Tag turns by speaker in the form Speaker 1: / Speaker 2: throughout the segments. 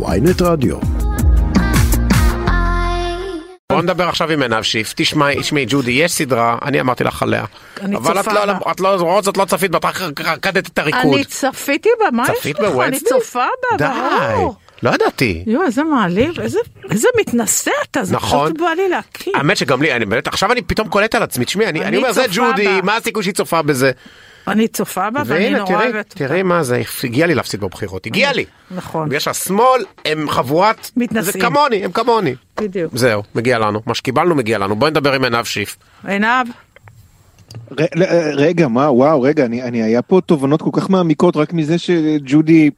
Speaker 1: ויינט רדיו.
Speaker 2: בוא נדבר עכשיו עם עינב שיף, תשמעי, תשמעי ג'ודי, יש סדרה, אני אמרתי לך עליה.
Speaker 3: אני
Speaker 2: אבל את
Speaker 3: צופה
Speaker 2: לא,
Speaker 3: בה.
Speaker 2: את לא, למרות זאת לא צפית, בה, את רק רקדת את הריקוד.
Speaker 3: אני צפיתי בה, מה יש
Speaker 2: צפית
Speaker 3: לך? אני
Speaker 2: בוונדסדיי?
Speaker 3: צופה בה, ברור.
Speaker 2: די, לא ידעתי.
Speaker 3: יואו, איזה מעליב, איזה- איזה מתנשא אתה, זה
Speaker 2: נכון.
Speaker 3: פשוט בא לי להקיא.
Speaker 2: האמת שגם לי, אני באמת, עכשיו אני פתאום קולט על עצמי, תשמעי, אני,
Speaker 3: אני
Speaker 2: אני אומר, זה
Speaker 3: צופה
Speaker 2: ג'ודי,
Speaker 3: בה."
Speaker 2: מה הסיכוי שהיא צופה בזה?
Speaker 3: אני צופה בה ואני
Speaker 2: והנה,
Speaker 3: נורא
Speaker 2: תראי,
Speaker 3: אוהבת.
Speaker 2: תראי מה זה, הגיע לי להפסיד בבחירות, הגיע לי.
Speaker 3: נכון.
Speaker 2: בגלל שהשמאל הם חבורת,
Speaker 3: מתנשאים.
Speaker 2: זה כמוני, הם כמוני.
Speaker 3: בדיוק.
Speaker 2: זהו, מגיע לנו, מה שקיבלנו מגיע לנו, בואי נדבר עם עינב שיף.
Speaker 3: עינב,
Speaker 4: ר- ר- רגע, מה, וואו, רגע, אני, אני היה פה תובנות כל כך מעמיקות רק מזה שג'ודי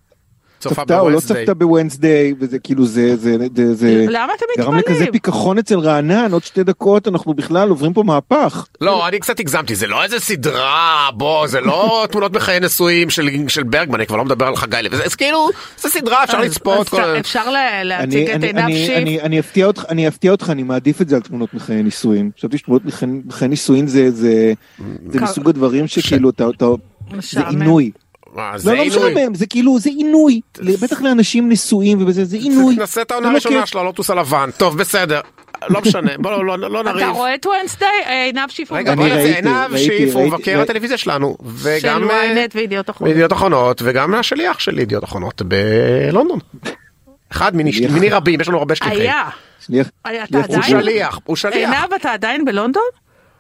Speaker 2: צופה
Speaker 4: צפתה או לא
Speaker 2: ב-Wednesday.
Speaker 4: צפתה בוונסדיי, וזה כאילו זה, זה, זה, זה,
Speaker 3: למה אתם
Speaker 4: גרם לכזה
Speaker 3: מתפלאים?
Speaker 4: פיכחון אצל רענן, עוד שתי דקות אנחנו בכלל עוברים פה מהפך.
Speaker 2: לא, אני קצת הגזמתי, זה לא איזה סדרה, בוא, זה לא תמונות בחיי נישואים של, של ברגמן, אני כבר לא מדבר על חגי לוי, זה זה כאילו, זה סדרה, אפשר
Speaker 4: אה,
Speaker 3: אז-
Speaker 2: לצפות.
Speaker 3: אה, אז
Speaker 2: כל...
Speaker 3: אתה- אפשר לה- להציג את
Speaker 4: אני, אני,
Speaker 3: עינב
Speaker 4: אני,
Speaker 3: שיף?
Speaker 4: אני, אני, אפתיע אותך, אני אפתיע אותך, אני מעדיף את זה על תמונות מחיי נישואים. חשבתי שתמונות מחיי- מחיי נישואים זה, זה, זה
Speaker 3: כ-
Speaker 4: מסוג הדברים שכאילו אתה, אתה, זה
Speaker 3: משעמם.
Speaker 4: עינוי.
Speaker 2: מה, זה
Speaker 4: לא, לא
Speaker 2: עינוי.
Speaker 4: משעמם, זה כאילו, זה עינוי. בטח לאנשים נשואים ובזה, זה עינוי.
Speaker 2: נעשה את העונה
Speaker 4: זה לא
Speaker 2: הראשונה
Speaker 4: כיף.
Speaker 2: של הלוטוס הלבן, טוב, בסדר, לא משנה, בוא לא- לא לא
Speaker 3: אתה
Speaker 2: נריב.
Speaker 3: רואה את וונסדיי? עינב שיף
Speaker 2: רגע,
Speaker 4: אני
Speaker 2: בוא
Speaker 3: מדבר
Speaker 2: נעשה
Speaker 4: ראיתי,
Speaker 2: עינב
Speaker 4: ראיתי,
Speaker 2: שיף, הוא
Speaker 4: ראיתי,
Speaker 2: מבקר
Speaker 4: ראיתי.
Speaker 2: הטלוויזיה שלנו,
Speaker 3: של
Speaker 2: וגם אה,
Speaker 3: ynet וידיעות אחרונות.
Speaker 2: מידיעות אחרונות, וגם השליח של ידיעות אחרונות בלונדון. אחד מיני
Speaker 4: שליח.
Speaker 2: מיני רבים, יש לנו הרבה שליחים.
Speaker 3: היה.
Speaker 4: שליח,
Speaker 3: היה- אתה
Speaker 4: שליח
Speaker 2: הוא
Speaker 3: עדיין?
Speaker 4: ציבור.
Speaker 2: שליח, הוא שליח.
Speaker 3: עינב, אתה עדיין בלונדון?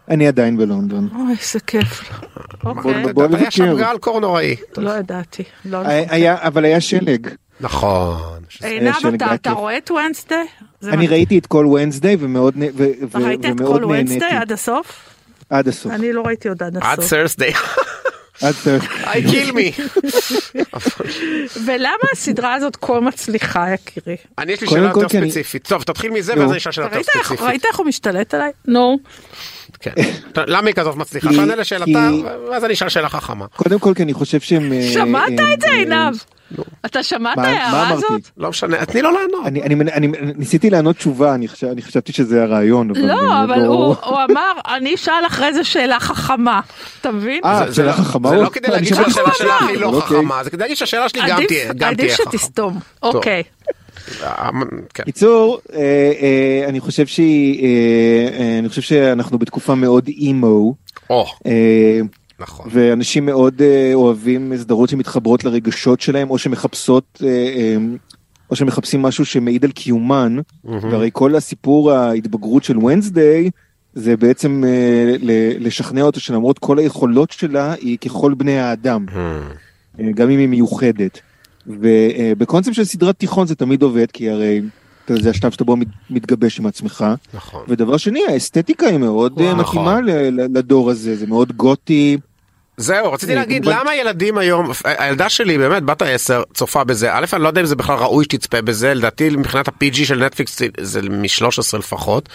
Speaker 4: אני עדיין בלונדון.
Speaker 3: אוי, איזה כיף. אוקיי,
Speaker 4: בוא- בוא
Speaker 2: היה שם
Speaker 4: נבקר.
Speaker 2: גל קורנוראי.
Speaker 3: לא ידעתי. לא נכון.
Speaker 4: היה- היה- אבל היה שלג.
Speaker 2: נכון.
Speaker 3: עינב,
Speaker 4: של
Speaker 3: אתה-
Speaker 4: גיא
Speaker 3: אתה
Speaker 4: כיף.
Speaker 3: רואה את וונסדיי? זה
Speaker 4: אני
Speaker 3: מה-
Speaker 4: ראיתי את כל ונסדיי ומאוד נ- ו- ו-
Speaker 3: ראית את
Speaker 4: ומאוד
Speaker 3: כל וונסדיי
Speaker 4: נהניתי.
Speaker 3: עד הסוף?
Speaker 4: עד הסוף.
Speaker 3: אני לא ראיתי עוד עד
Speaker 2: עד
Speaker 3: הסוף.
Speaker 2: סרסדיי.
Speaker 4: עד הסוף.
Speaker 2: I kill me.
Speaker 3: ולמה הסדרה הזאת כה מצליחה, יקירי?
Speaker 2: אני יש לי
Speaker 4: קודם
Speaker 2: שאלה
Speaker 4: כל
Speaker 2: יותר
Speaker 4: כי אני-
Speaker 2: ספציפית. טוב, תתחיל מזה
Speaker 4: נו.
Speaker 2: ואז אני אשאל שאלה
Speaker 3: אתה
Speaker 2: יותר
Speaker 3: ראית איך-
Speaker 2: ספציפית.
Speaker 3: ראית איך הוא משתלט עליי? נו.
Speaker 4: אה,
Speaker 2: כן. למה היא כזאת מצליחה?
Speaker 4: כי-
Speaker 2: תענה לשאלתה,
Speaker 4: כי-
Speaker 2: ואז אני אשאל שאלה חכמה.
Speaker 4: קודם כל כי אני חושב שהם... אה,
Speaker 3: שמעת
Speaker 4: אה,
Speaker 3: את זה,
Speaker 4: אה,
Speaker 3: עינב? אתה שמעת
Speaker 4: מה- מה
Speaker 3: ההערה
Speaker 4: אמרתי?
Speaker 3: הזאת?
Speaker 2: לא משנה, תני לו לענות.
Speaker 4: אני, אני, אני, אני ניסיתי לענות תשובה, אני, חשב, אני חשבתי שזה הרעיון, אבל... אני
Speaker 3: לא,
Speaker 4: מאוד
Speaker 3: אבל
Speaker 4: לא-
Speaker 3: הוא הוא אמר, אני אשאל אחרי זה שאלה חכמה. אתה מבין?
Speaker 4: אה,
Speaker 2: זה-
Speaker 4: שאלה
Speaker 2: זה לא-
Speaker 4: חכמה?
Speaker 2: זה
Speaker 4: הוא-
Speaker 2: לא כדי
Speaker 4: אני
Speaker 2: להגיד
Speaker 4: שמעתי
Speaker 2: שהשאלה
Speaker 4: שאלה
Speaker 2: שלך היא
Speaker 4: אבל
Speaker 2: לא
Speaker 4: אוקיי.
Speaker 2: חכמה, זה כדי להגיד שהשאלה שלי גם
Speaker 3: עדיף-
Speaker 2: תהיה גם
Speaker 3: עדיף
Speaker 2: תהיה חכמה.
Speaker 3: שתסתום. אוקיי.
Speaker 2: אה, כן.
Speaker 4: קיצור, אה, אה, אני חושב שהיא... אה, אה, אני חושב שאנחנו בתקופה מאוד אימו,
Speaker 2: או,
Speaker 4: אה,
Speaker 2: נכון.
Speaker 4: ואנשים מאוד אה, אוהבים סדרות שמתחברות לרגשות שלהם או שמחפשות אה, אה, או שמחפשים משהו שמעיד על קיומן והרי כל הסיפור ההתבגרות של ונסדיי זה בעצם אה, ל- לשכנע אותו שלמרות כל היכולות שלה היא ככל בני האדם אה, גם אם היא מיוחדת. ובקונספט של סדרת תיכון זה תמיד עובד כי הרי אתה יודע, זה השלב שאתה בו מת- מתגבש עם עצמך.
Speaker 2: נכון.
Speaker 4: ודבר שני האסתטיקה היא מאוד אה,
Speaker 2: נכון.
Speaker 4: מתאימה ל- ל- לדור הזה זה מאוד גותי.
Speaker 2: זהו, רציתי
Speaker 4: אה,
Speaker 2: להגיד
Speaker 4: כמובן-
Speaker 2: למה ילדים היום, הילדה שלי באמת בת העשר צופה בזה, א' אני לא יודע אם זה בכלל ראוי שתצפה בזה, לדעתי מבחינת ה-PG של נטפליקס זה מ-13 לפחות,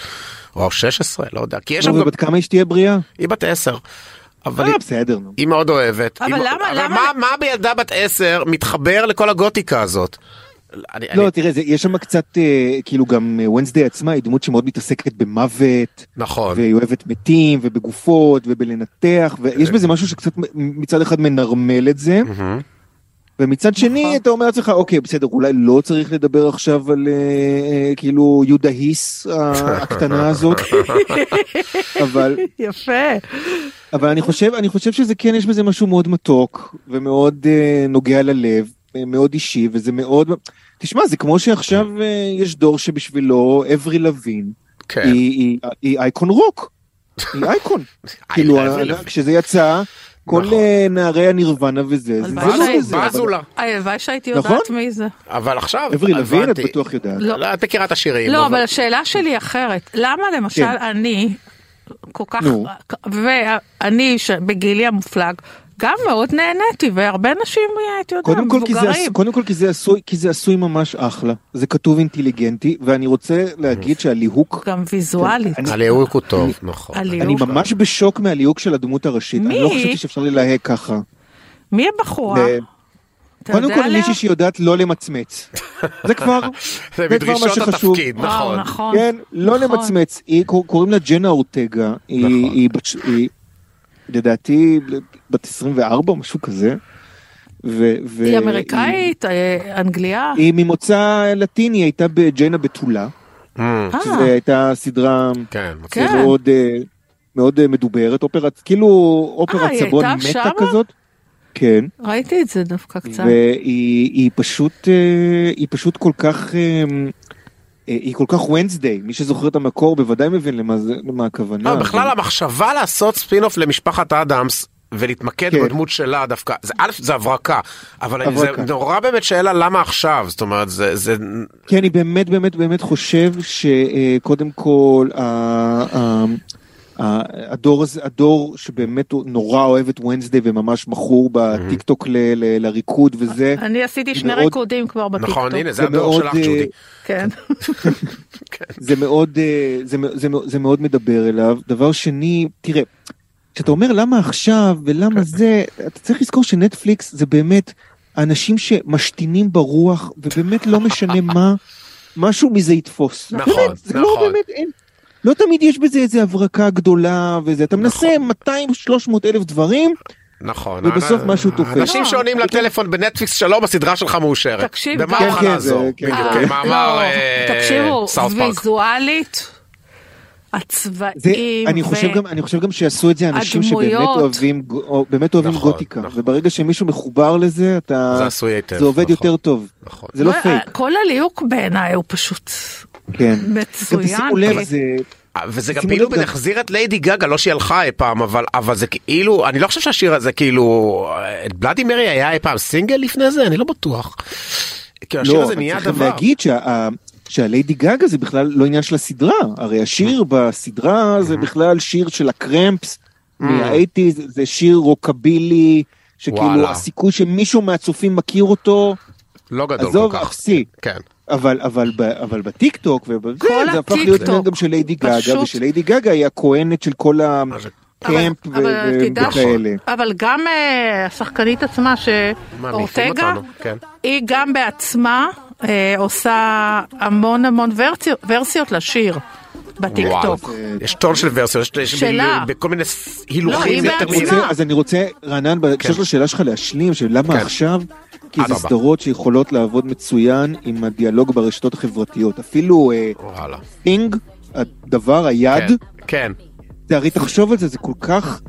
Speaker 2: או 16, לא יודע, כי יש שם
Speaker 4: נו,
Speaker 2: גם,
Speaker 4: ובת כמה אשתי הבריאה?
Speaker 2: היא בת עשר, אבל
Speaker 4: אבל
Speaker 2: היא-
Speaker 4: אה, בסדר נו.
Speaker 2: היא מאוד אוהבת.
Speaker 3: אבל
Speaker 2: היא-
Speaker 3: למה-
Speaker 2: אבל
Speaker 3: למה-
Speaker 2: מה- מה בילדה בת עשר מתחבר לכל הגותיקה הזאת? אני- אני-
Speaker 4: לא תראה זה יש שם קצת אה, כאילו גם ונסדי עצמה היא דמות שמאוד מתעסקת במוות
Speaker 2: נכון.
Speaker 4: והיא אוהבת מתים ובגופות ובלנתח ויש
Speaker 2: אה.
Speaker 4: בזה משהו שקצת מ- מצד אחד מנרמל את זה
Speaker 2: מהמם.
Speaker 4: ומצד שני אתה אומר לעצמך אוקיי בסדר אולי לא צריך לדבר עכשיו על אה, אה, כאילו יהודה היס ה- הקטנה הזאת אבל
Speaker 3: יפה.
Speaker 4: אבל אני חושב אני חושב שזה כן יש בזה משהו מאוד מתוק ומאוד אה, נוגע ללב אה, מאוד אישי וזה מאוד תשמע זה כמו שעכשיו אה, יש דור שבשבילו אברי לוין
Speaker 2: כן.
Speaker 4: היא, היא, היא אייקון רוק. היא אייקון כאילו
Speaker 2: אברי
Speaker 4: ה-
Speaker 2: לוין.
Speaker 4: כשזה יצא כל
Speaker 2: נכון.
Speaker 4: אה, נערי הנירוונה וזה זה
Speaker 3: הלוואי
Speaker 4: לא
Speaker 3: שהיא-
Speaker 4: בזה, אבל-
Speaker 2: בזו לה.
Speaker 3: הלוואי שהייתי
Speaker 4: נכון?
Speaker 3: יודעת מי זה.
Speaker 2: אבל עכשיו,
Speaker 4: אברי לוין את
Speaker 2: הבנתי.
Speaker 4: בטוח יודעת.
Speaker 3: לא.
Speaker 2: לא, את מכירה את השירים.
Speaker 3: לא, אבל השאלה שלי אחרת. למה למשל
Speaker 4: אה, כן.
Speaker 3: אני, כל כך,
Speaker 4: נו.
Speaker 3: ואני שבגילי המופלג, גם מאוד נהניתי, והרבה נשים, אה, אתה יודע,
Speaker 4: קודם כל, כי זה, עש-
Speaker 3: מבוגרים.
Speaker 4: קודם כל כי, זה עשוי, כי זה עשוי ממש אחלה, זה כתוב אינטליגנטי ואני רוצה להגיד שהליהוק,
Speaker 3: גם ויזואלית.
Speaker 4: אני-
Speaker 2: הליהוק הוא טוב, נכון.
Speaker 3: הליהוק.
Speaker 4: אני ממש בשוק מהליהוק של הדמות הראשית,
Speaker 3: מי?
Speaker 4: אני לא חשבתי שאפשר ללהק ככה.
Speaker 3: מי הבחורה?
Speaker 4: ו-
Speaker 3: אתה
Speaker 4: קודם
Speaker 3: יודע
Speaker 4: כל
Speaker 3: עליה?
Speaker 4: מישהי שיודעת לא למצמץ, זה כבר,
Speaker 2: זה
Speaker 4: זה כבר מה
Speaker 2: בדרישות
Speaker 4: שחשוב.
Speaker 2: התפקיד,
Speaker 3: וואו,
Speaker 2: נכון.
Speaker 3: נכון.
Speaker 4: כן, לא
Speaker 3: נכון.
Speaker 4: למצמץ, היא- קור- קוראים לה ג'נה אורטגה, היא-
Speaker 2: נכון.
Speaker 4: היא בת- היא לדעתי בת 24 או משהו כזה, ו- ו-
Speaker 3: היא אמריקאית, אה, אנגליה.
Speaker 4: היא, היא ממוצא לטיני, היא הייתה בג'יינה בתולה,
Speaker 2: אה,
Speaker 3: אה,
Speaker 4: שזו הייתה סדרה
Speaker 2: כן,
Speaker 3: כן.
Speaker 4: מאוד, אה, מאוד אה, מדוברת, אופרת, כאילו אופרת
Speaker 3: אה, היא
Speaker 4: סבון
Speaker 3: הייתה
Speaker 4: מתה
Speaker 3: שמה?
Speaker 4: כזאת. כן,
Speaker 3: ראיתי את זה דווקא קצת.
Speaker 4: והיא היא פשוט, אה, היא פשוט כל כך, אה, אה, היא כל כך ונסדיי, מי שזוכר את המקור בוודאי מבין למה, זה- למה הכוונה.
Speaker 2: לא, בכלל המחשבה לעשות ספינוף למשפחת אדמס ולהתמקד
Speaker 4: כן.
Speaker 2: בדמות שלה דווקא, זה א', זה הברקה, אבל זה
Speaker 4: הברקה.
Speaker 2: נורא באמת שאלה למה עכשיו, זאת אומרת, זה, זה,
Speaker 4: כי כן, אני באמת באמת באמת חושב שקודם כל ה- ה- ה- הדור הזה, הדור שבאמת הוא נורא אוהב את וונסדי וממש מכור בטיק טוק ל- ל- לריקוד וזה,
Speaker 3: אני עשיתי שני
Speaker 4: מאוד-
Speaker 3: ריקודים כבר בטיקטוק.
Speaker 2: נכון, הנה, זה
Speaker 4: זה
Speaker 2: הדור
Speaker 4: מאוד,
Speaker 2: שלך,
Speaker 4: אה,
Speaker 2: ג'ודי.
Speaker 3: כן.
Speaker 4: זה מאוד, אה, זה, מא- זה, מא- זה מאוד מדבר אליו. דבר שני, תראה, כשאתה אומר למה עכשיו
Speaker 2: כן.
Speaker 4: ולמה זה, אתה צריך לזכור שנטפליקס זה באמת אנשים שמשתינים ברוח ובאמת לא משנה מה, משהו מזה יתפוס.
Speaker 2: נכון,
Speaker 4: באמת, זה
Speaker 2: נכון.
Speaker 4: לא באמת, אין. לא תמיד יש בזה איזה הברקה גדולה וזה, אתה מנסה 200-300 אלף דברים,
Speaker 2: נכון.
Speaker 4: ובסוף
Speaker 2: אה,
Speaker 4: משהו תופס.
Speaker 2: אנשים שעונים לטלפון בנטפליקס, שלום, הסדרה שלך מאושרת.
Speaker 3: כן, תקשיב,
Speaker 2: במה
Speaker 3: כן,
Speaker 2: אוכל
Speaker 4: כן,
Speaker 2: לעזור?
Speaker 4: זה- כן,
Speaker 2: בדיוק,
Speaker 4: כן.
Speaker 2: מאמר כאילו,
Speaker 3: לא,
Speaker 2: אה,
Speaker 3: תקשיבו,
Speaker 2: סאוט פארק.
Speaker 3: ויזואלית,
Speaker 4: זה,
Speaker 3: הצבעים,
Speaker 4: אני, חושב
Speaker 3: ו-
Speaker 4: גם, אני חושב גם שעשו את זה אנשים שבאמת
Speaker 3: הדמויות.
Speaker 4: אוהבים, גו- או- באמת אוהבים
Speaker 2: נכון,
Speaker 4: גותיקה,
Speaker 2: נכון.
Speaker 4: וברגע שמישהו מחובר לזה, אתה...
Speaker 2: זה עשוי היטב.
Speaker 4: זה עובד
Speaker 2: נכון,
Speaker 4: יותר טוב.
Speaker 2: נכון.
Speaker 4: זה לא
Speaker 3: אה,
Speaker 4: פייק,
Speaker 3: כל הליהוק בעיניי הוא פשוט
Speaker 4: כן. גם
Speaker 3: אה, מצוין.
Speaker 4: תשימו לב,
Speaker 3: כי-
Speaker 4: זה...
Speaker 2: אה, וזה גם
Speaker 4: שימו
Speaker 2: כאילו
Speaker 4: לב גם-
Speaker 2: להחזיר את ליידי גגה, לא שהיא הלכה אי פעם, אבל, אבל זה כאילו, אני לא חושב שהשיר הזה כאילו, אה, את בלאדי מרי היה אי פעם סינגל לפני זה? אני לא בטוח. כאילו השיר
Speaker 4: לא,
Speaker 2: הזה
Speaker 4: אבל
Speaker 2: נהיה
Speaker 4: צריך גם
Speaker 2: דבר.
Speaker 4: להגיד שה- ה- שהליידי גגה זה בכלל לא עניין של הסדרה, הרי השיר
Speaker 2: Mm-hmm.
Speaker 4: בסדרה זה בכלל שיר של הקרמפס
Speaker 2: Mm.
Speaker 4: מהאייטיז, זה שיר רוקבילי, שכאילו
Speaker 2: וואלה.
Speaker 4: הסיכוי שמישהו מהצופים מכיר אותו,
Speaker 2: לא גדול כל
Speaker 4: עזוב,
Speaker 2: כך.
Speaker 4: אפסי.
Speaker 2: כן.
Speaker 4: אבל אבל ב- אבל בטיק טוק ובזה
Speaker 3: כל
Speaker 4: זה הפך להיות
Speaker 3: הטיקטוק,
Speaker 4: עניין גם של ליידי
Speaker 3: פשוט.
Speaker 4: גגה ושליידי גגה היא הכהנת של כל
Speaker 2: זה-
Speaker 4: הקרמפ ו-
Speaker 3: אבל- אבל
Speaker 4: ו-
Speaker 3: תדע ש-
Speaker 4: וכאלה.
Speaker 3: אבל גם אה, השחקנית עצמה,
Speaker 2: מה, מעיפים
Speaker 3: שאורטגה,
Speaker 2: אותנו, כן.
Speaker 3: היא גם בעצמה אה, עושה המון המון ורסיות- ורסיות לשיר
Speaker 2: וואו,
Speaker 3: בטיקטוק.
Speaker 2: יש טון של ורסיות, יש- יש
Speaker 3: שלה.
Speaker 2: ב- בכל מיני ס-
Speaker 3: לא, היא
Speaker 2: הילוכים יותר
Speaker 3: בעצמה.
Speaker 2: מזה.
Speaker 4: רוצה, אז אני רוצה, רענן, בהקשר של השאלה שלך להשלים, של למה
Speaker 2: כן.
Speaker 4: עכשיו? כי זה
Speaker 2: אדרבה.
Speaker 4: סדרות שיכולות לעבוד מצוין עם הדיאלוג ברשתות החברתיות. אפילו אה,
Speaker 2: וואלה.
Speaker 4: טינג, הדבר, היד,
Speaker 2: כן, כן.
Speaker 4: זה הרי תחשוב על זה, זה כל כך...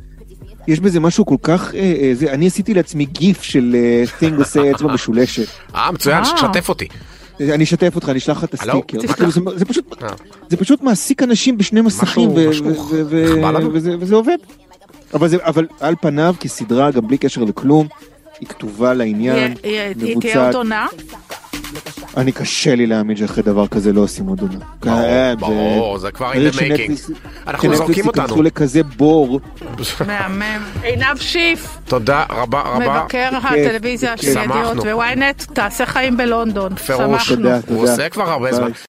Speaker 4: יש בזה משהו כל כך, אה, אה, זה, אני עשיתי לעצמי גיף של טינג עושה אצבע משולשת.
Speaker 2: אה, מצוין,
Speaker 3: אה.
Speaker 2: שתף אותי.
Speaker 4: אני אשתף אותך, אני אשלח לך את
Speaker 2: הלו?
Speaker 4: הסטיקר.
Speaker 2: תשלח.
Speaker 4: כאילו, זה- זה פשוט-
Speaker 2: אה.
Speaker 4: זה פשוט מעסיק אנשים בשני מסכים, ו-
Speaker 2: משהו
Speaker 4: ו- ו- ו-
Speaker 2: נחבא לנו.
Speaker 4: וזה- וזה עובד. אבל זה- אבל על פניו, כסדרה, גם בלי קשר לכלום, היא כתובה לעניין,
Speaker 3: היא- היא- היא תהיה עוד
Speaker 4: מבוצעת.
Speaker 3: עונה?
Speaker 4: אני קשה לי להאמין שאחרי דבר כזה לא עושים עוד עונה. אה,
Speaker 2: ברור, ברור, זה כבר in
Speaker 4: ברגע
Speaker 2: the making.
Speaker 4: שנטפליקס-
Speaker 2: אנחנו
Speaker 4: שנטפליקס
Speaker 2: זורקים אותנו.
Speaker 4: ייכנסו לכזה בור,
Speaker 3: מהמם. עינב שיף,
Speaker 2: תודה רבה רבה.
Speaker 3: מבקר הטלוויזיה של
Speaker 2: שמחנו.
Speaker 3: ידיעות ו-ynet, תעשה חיים בלונדון.
Speaker 2: בפירוש.
Speaker 3: שמחנו.
Speaker 4: תודה,
Speaker 2: הוא
Speaker 4: תודה.
Speaker 2: עושה כבר הרבה
Speaker 4: ביי.
Speaker 2: זמן.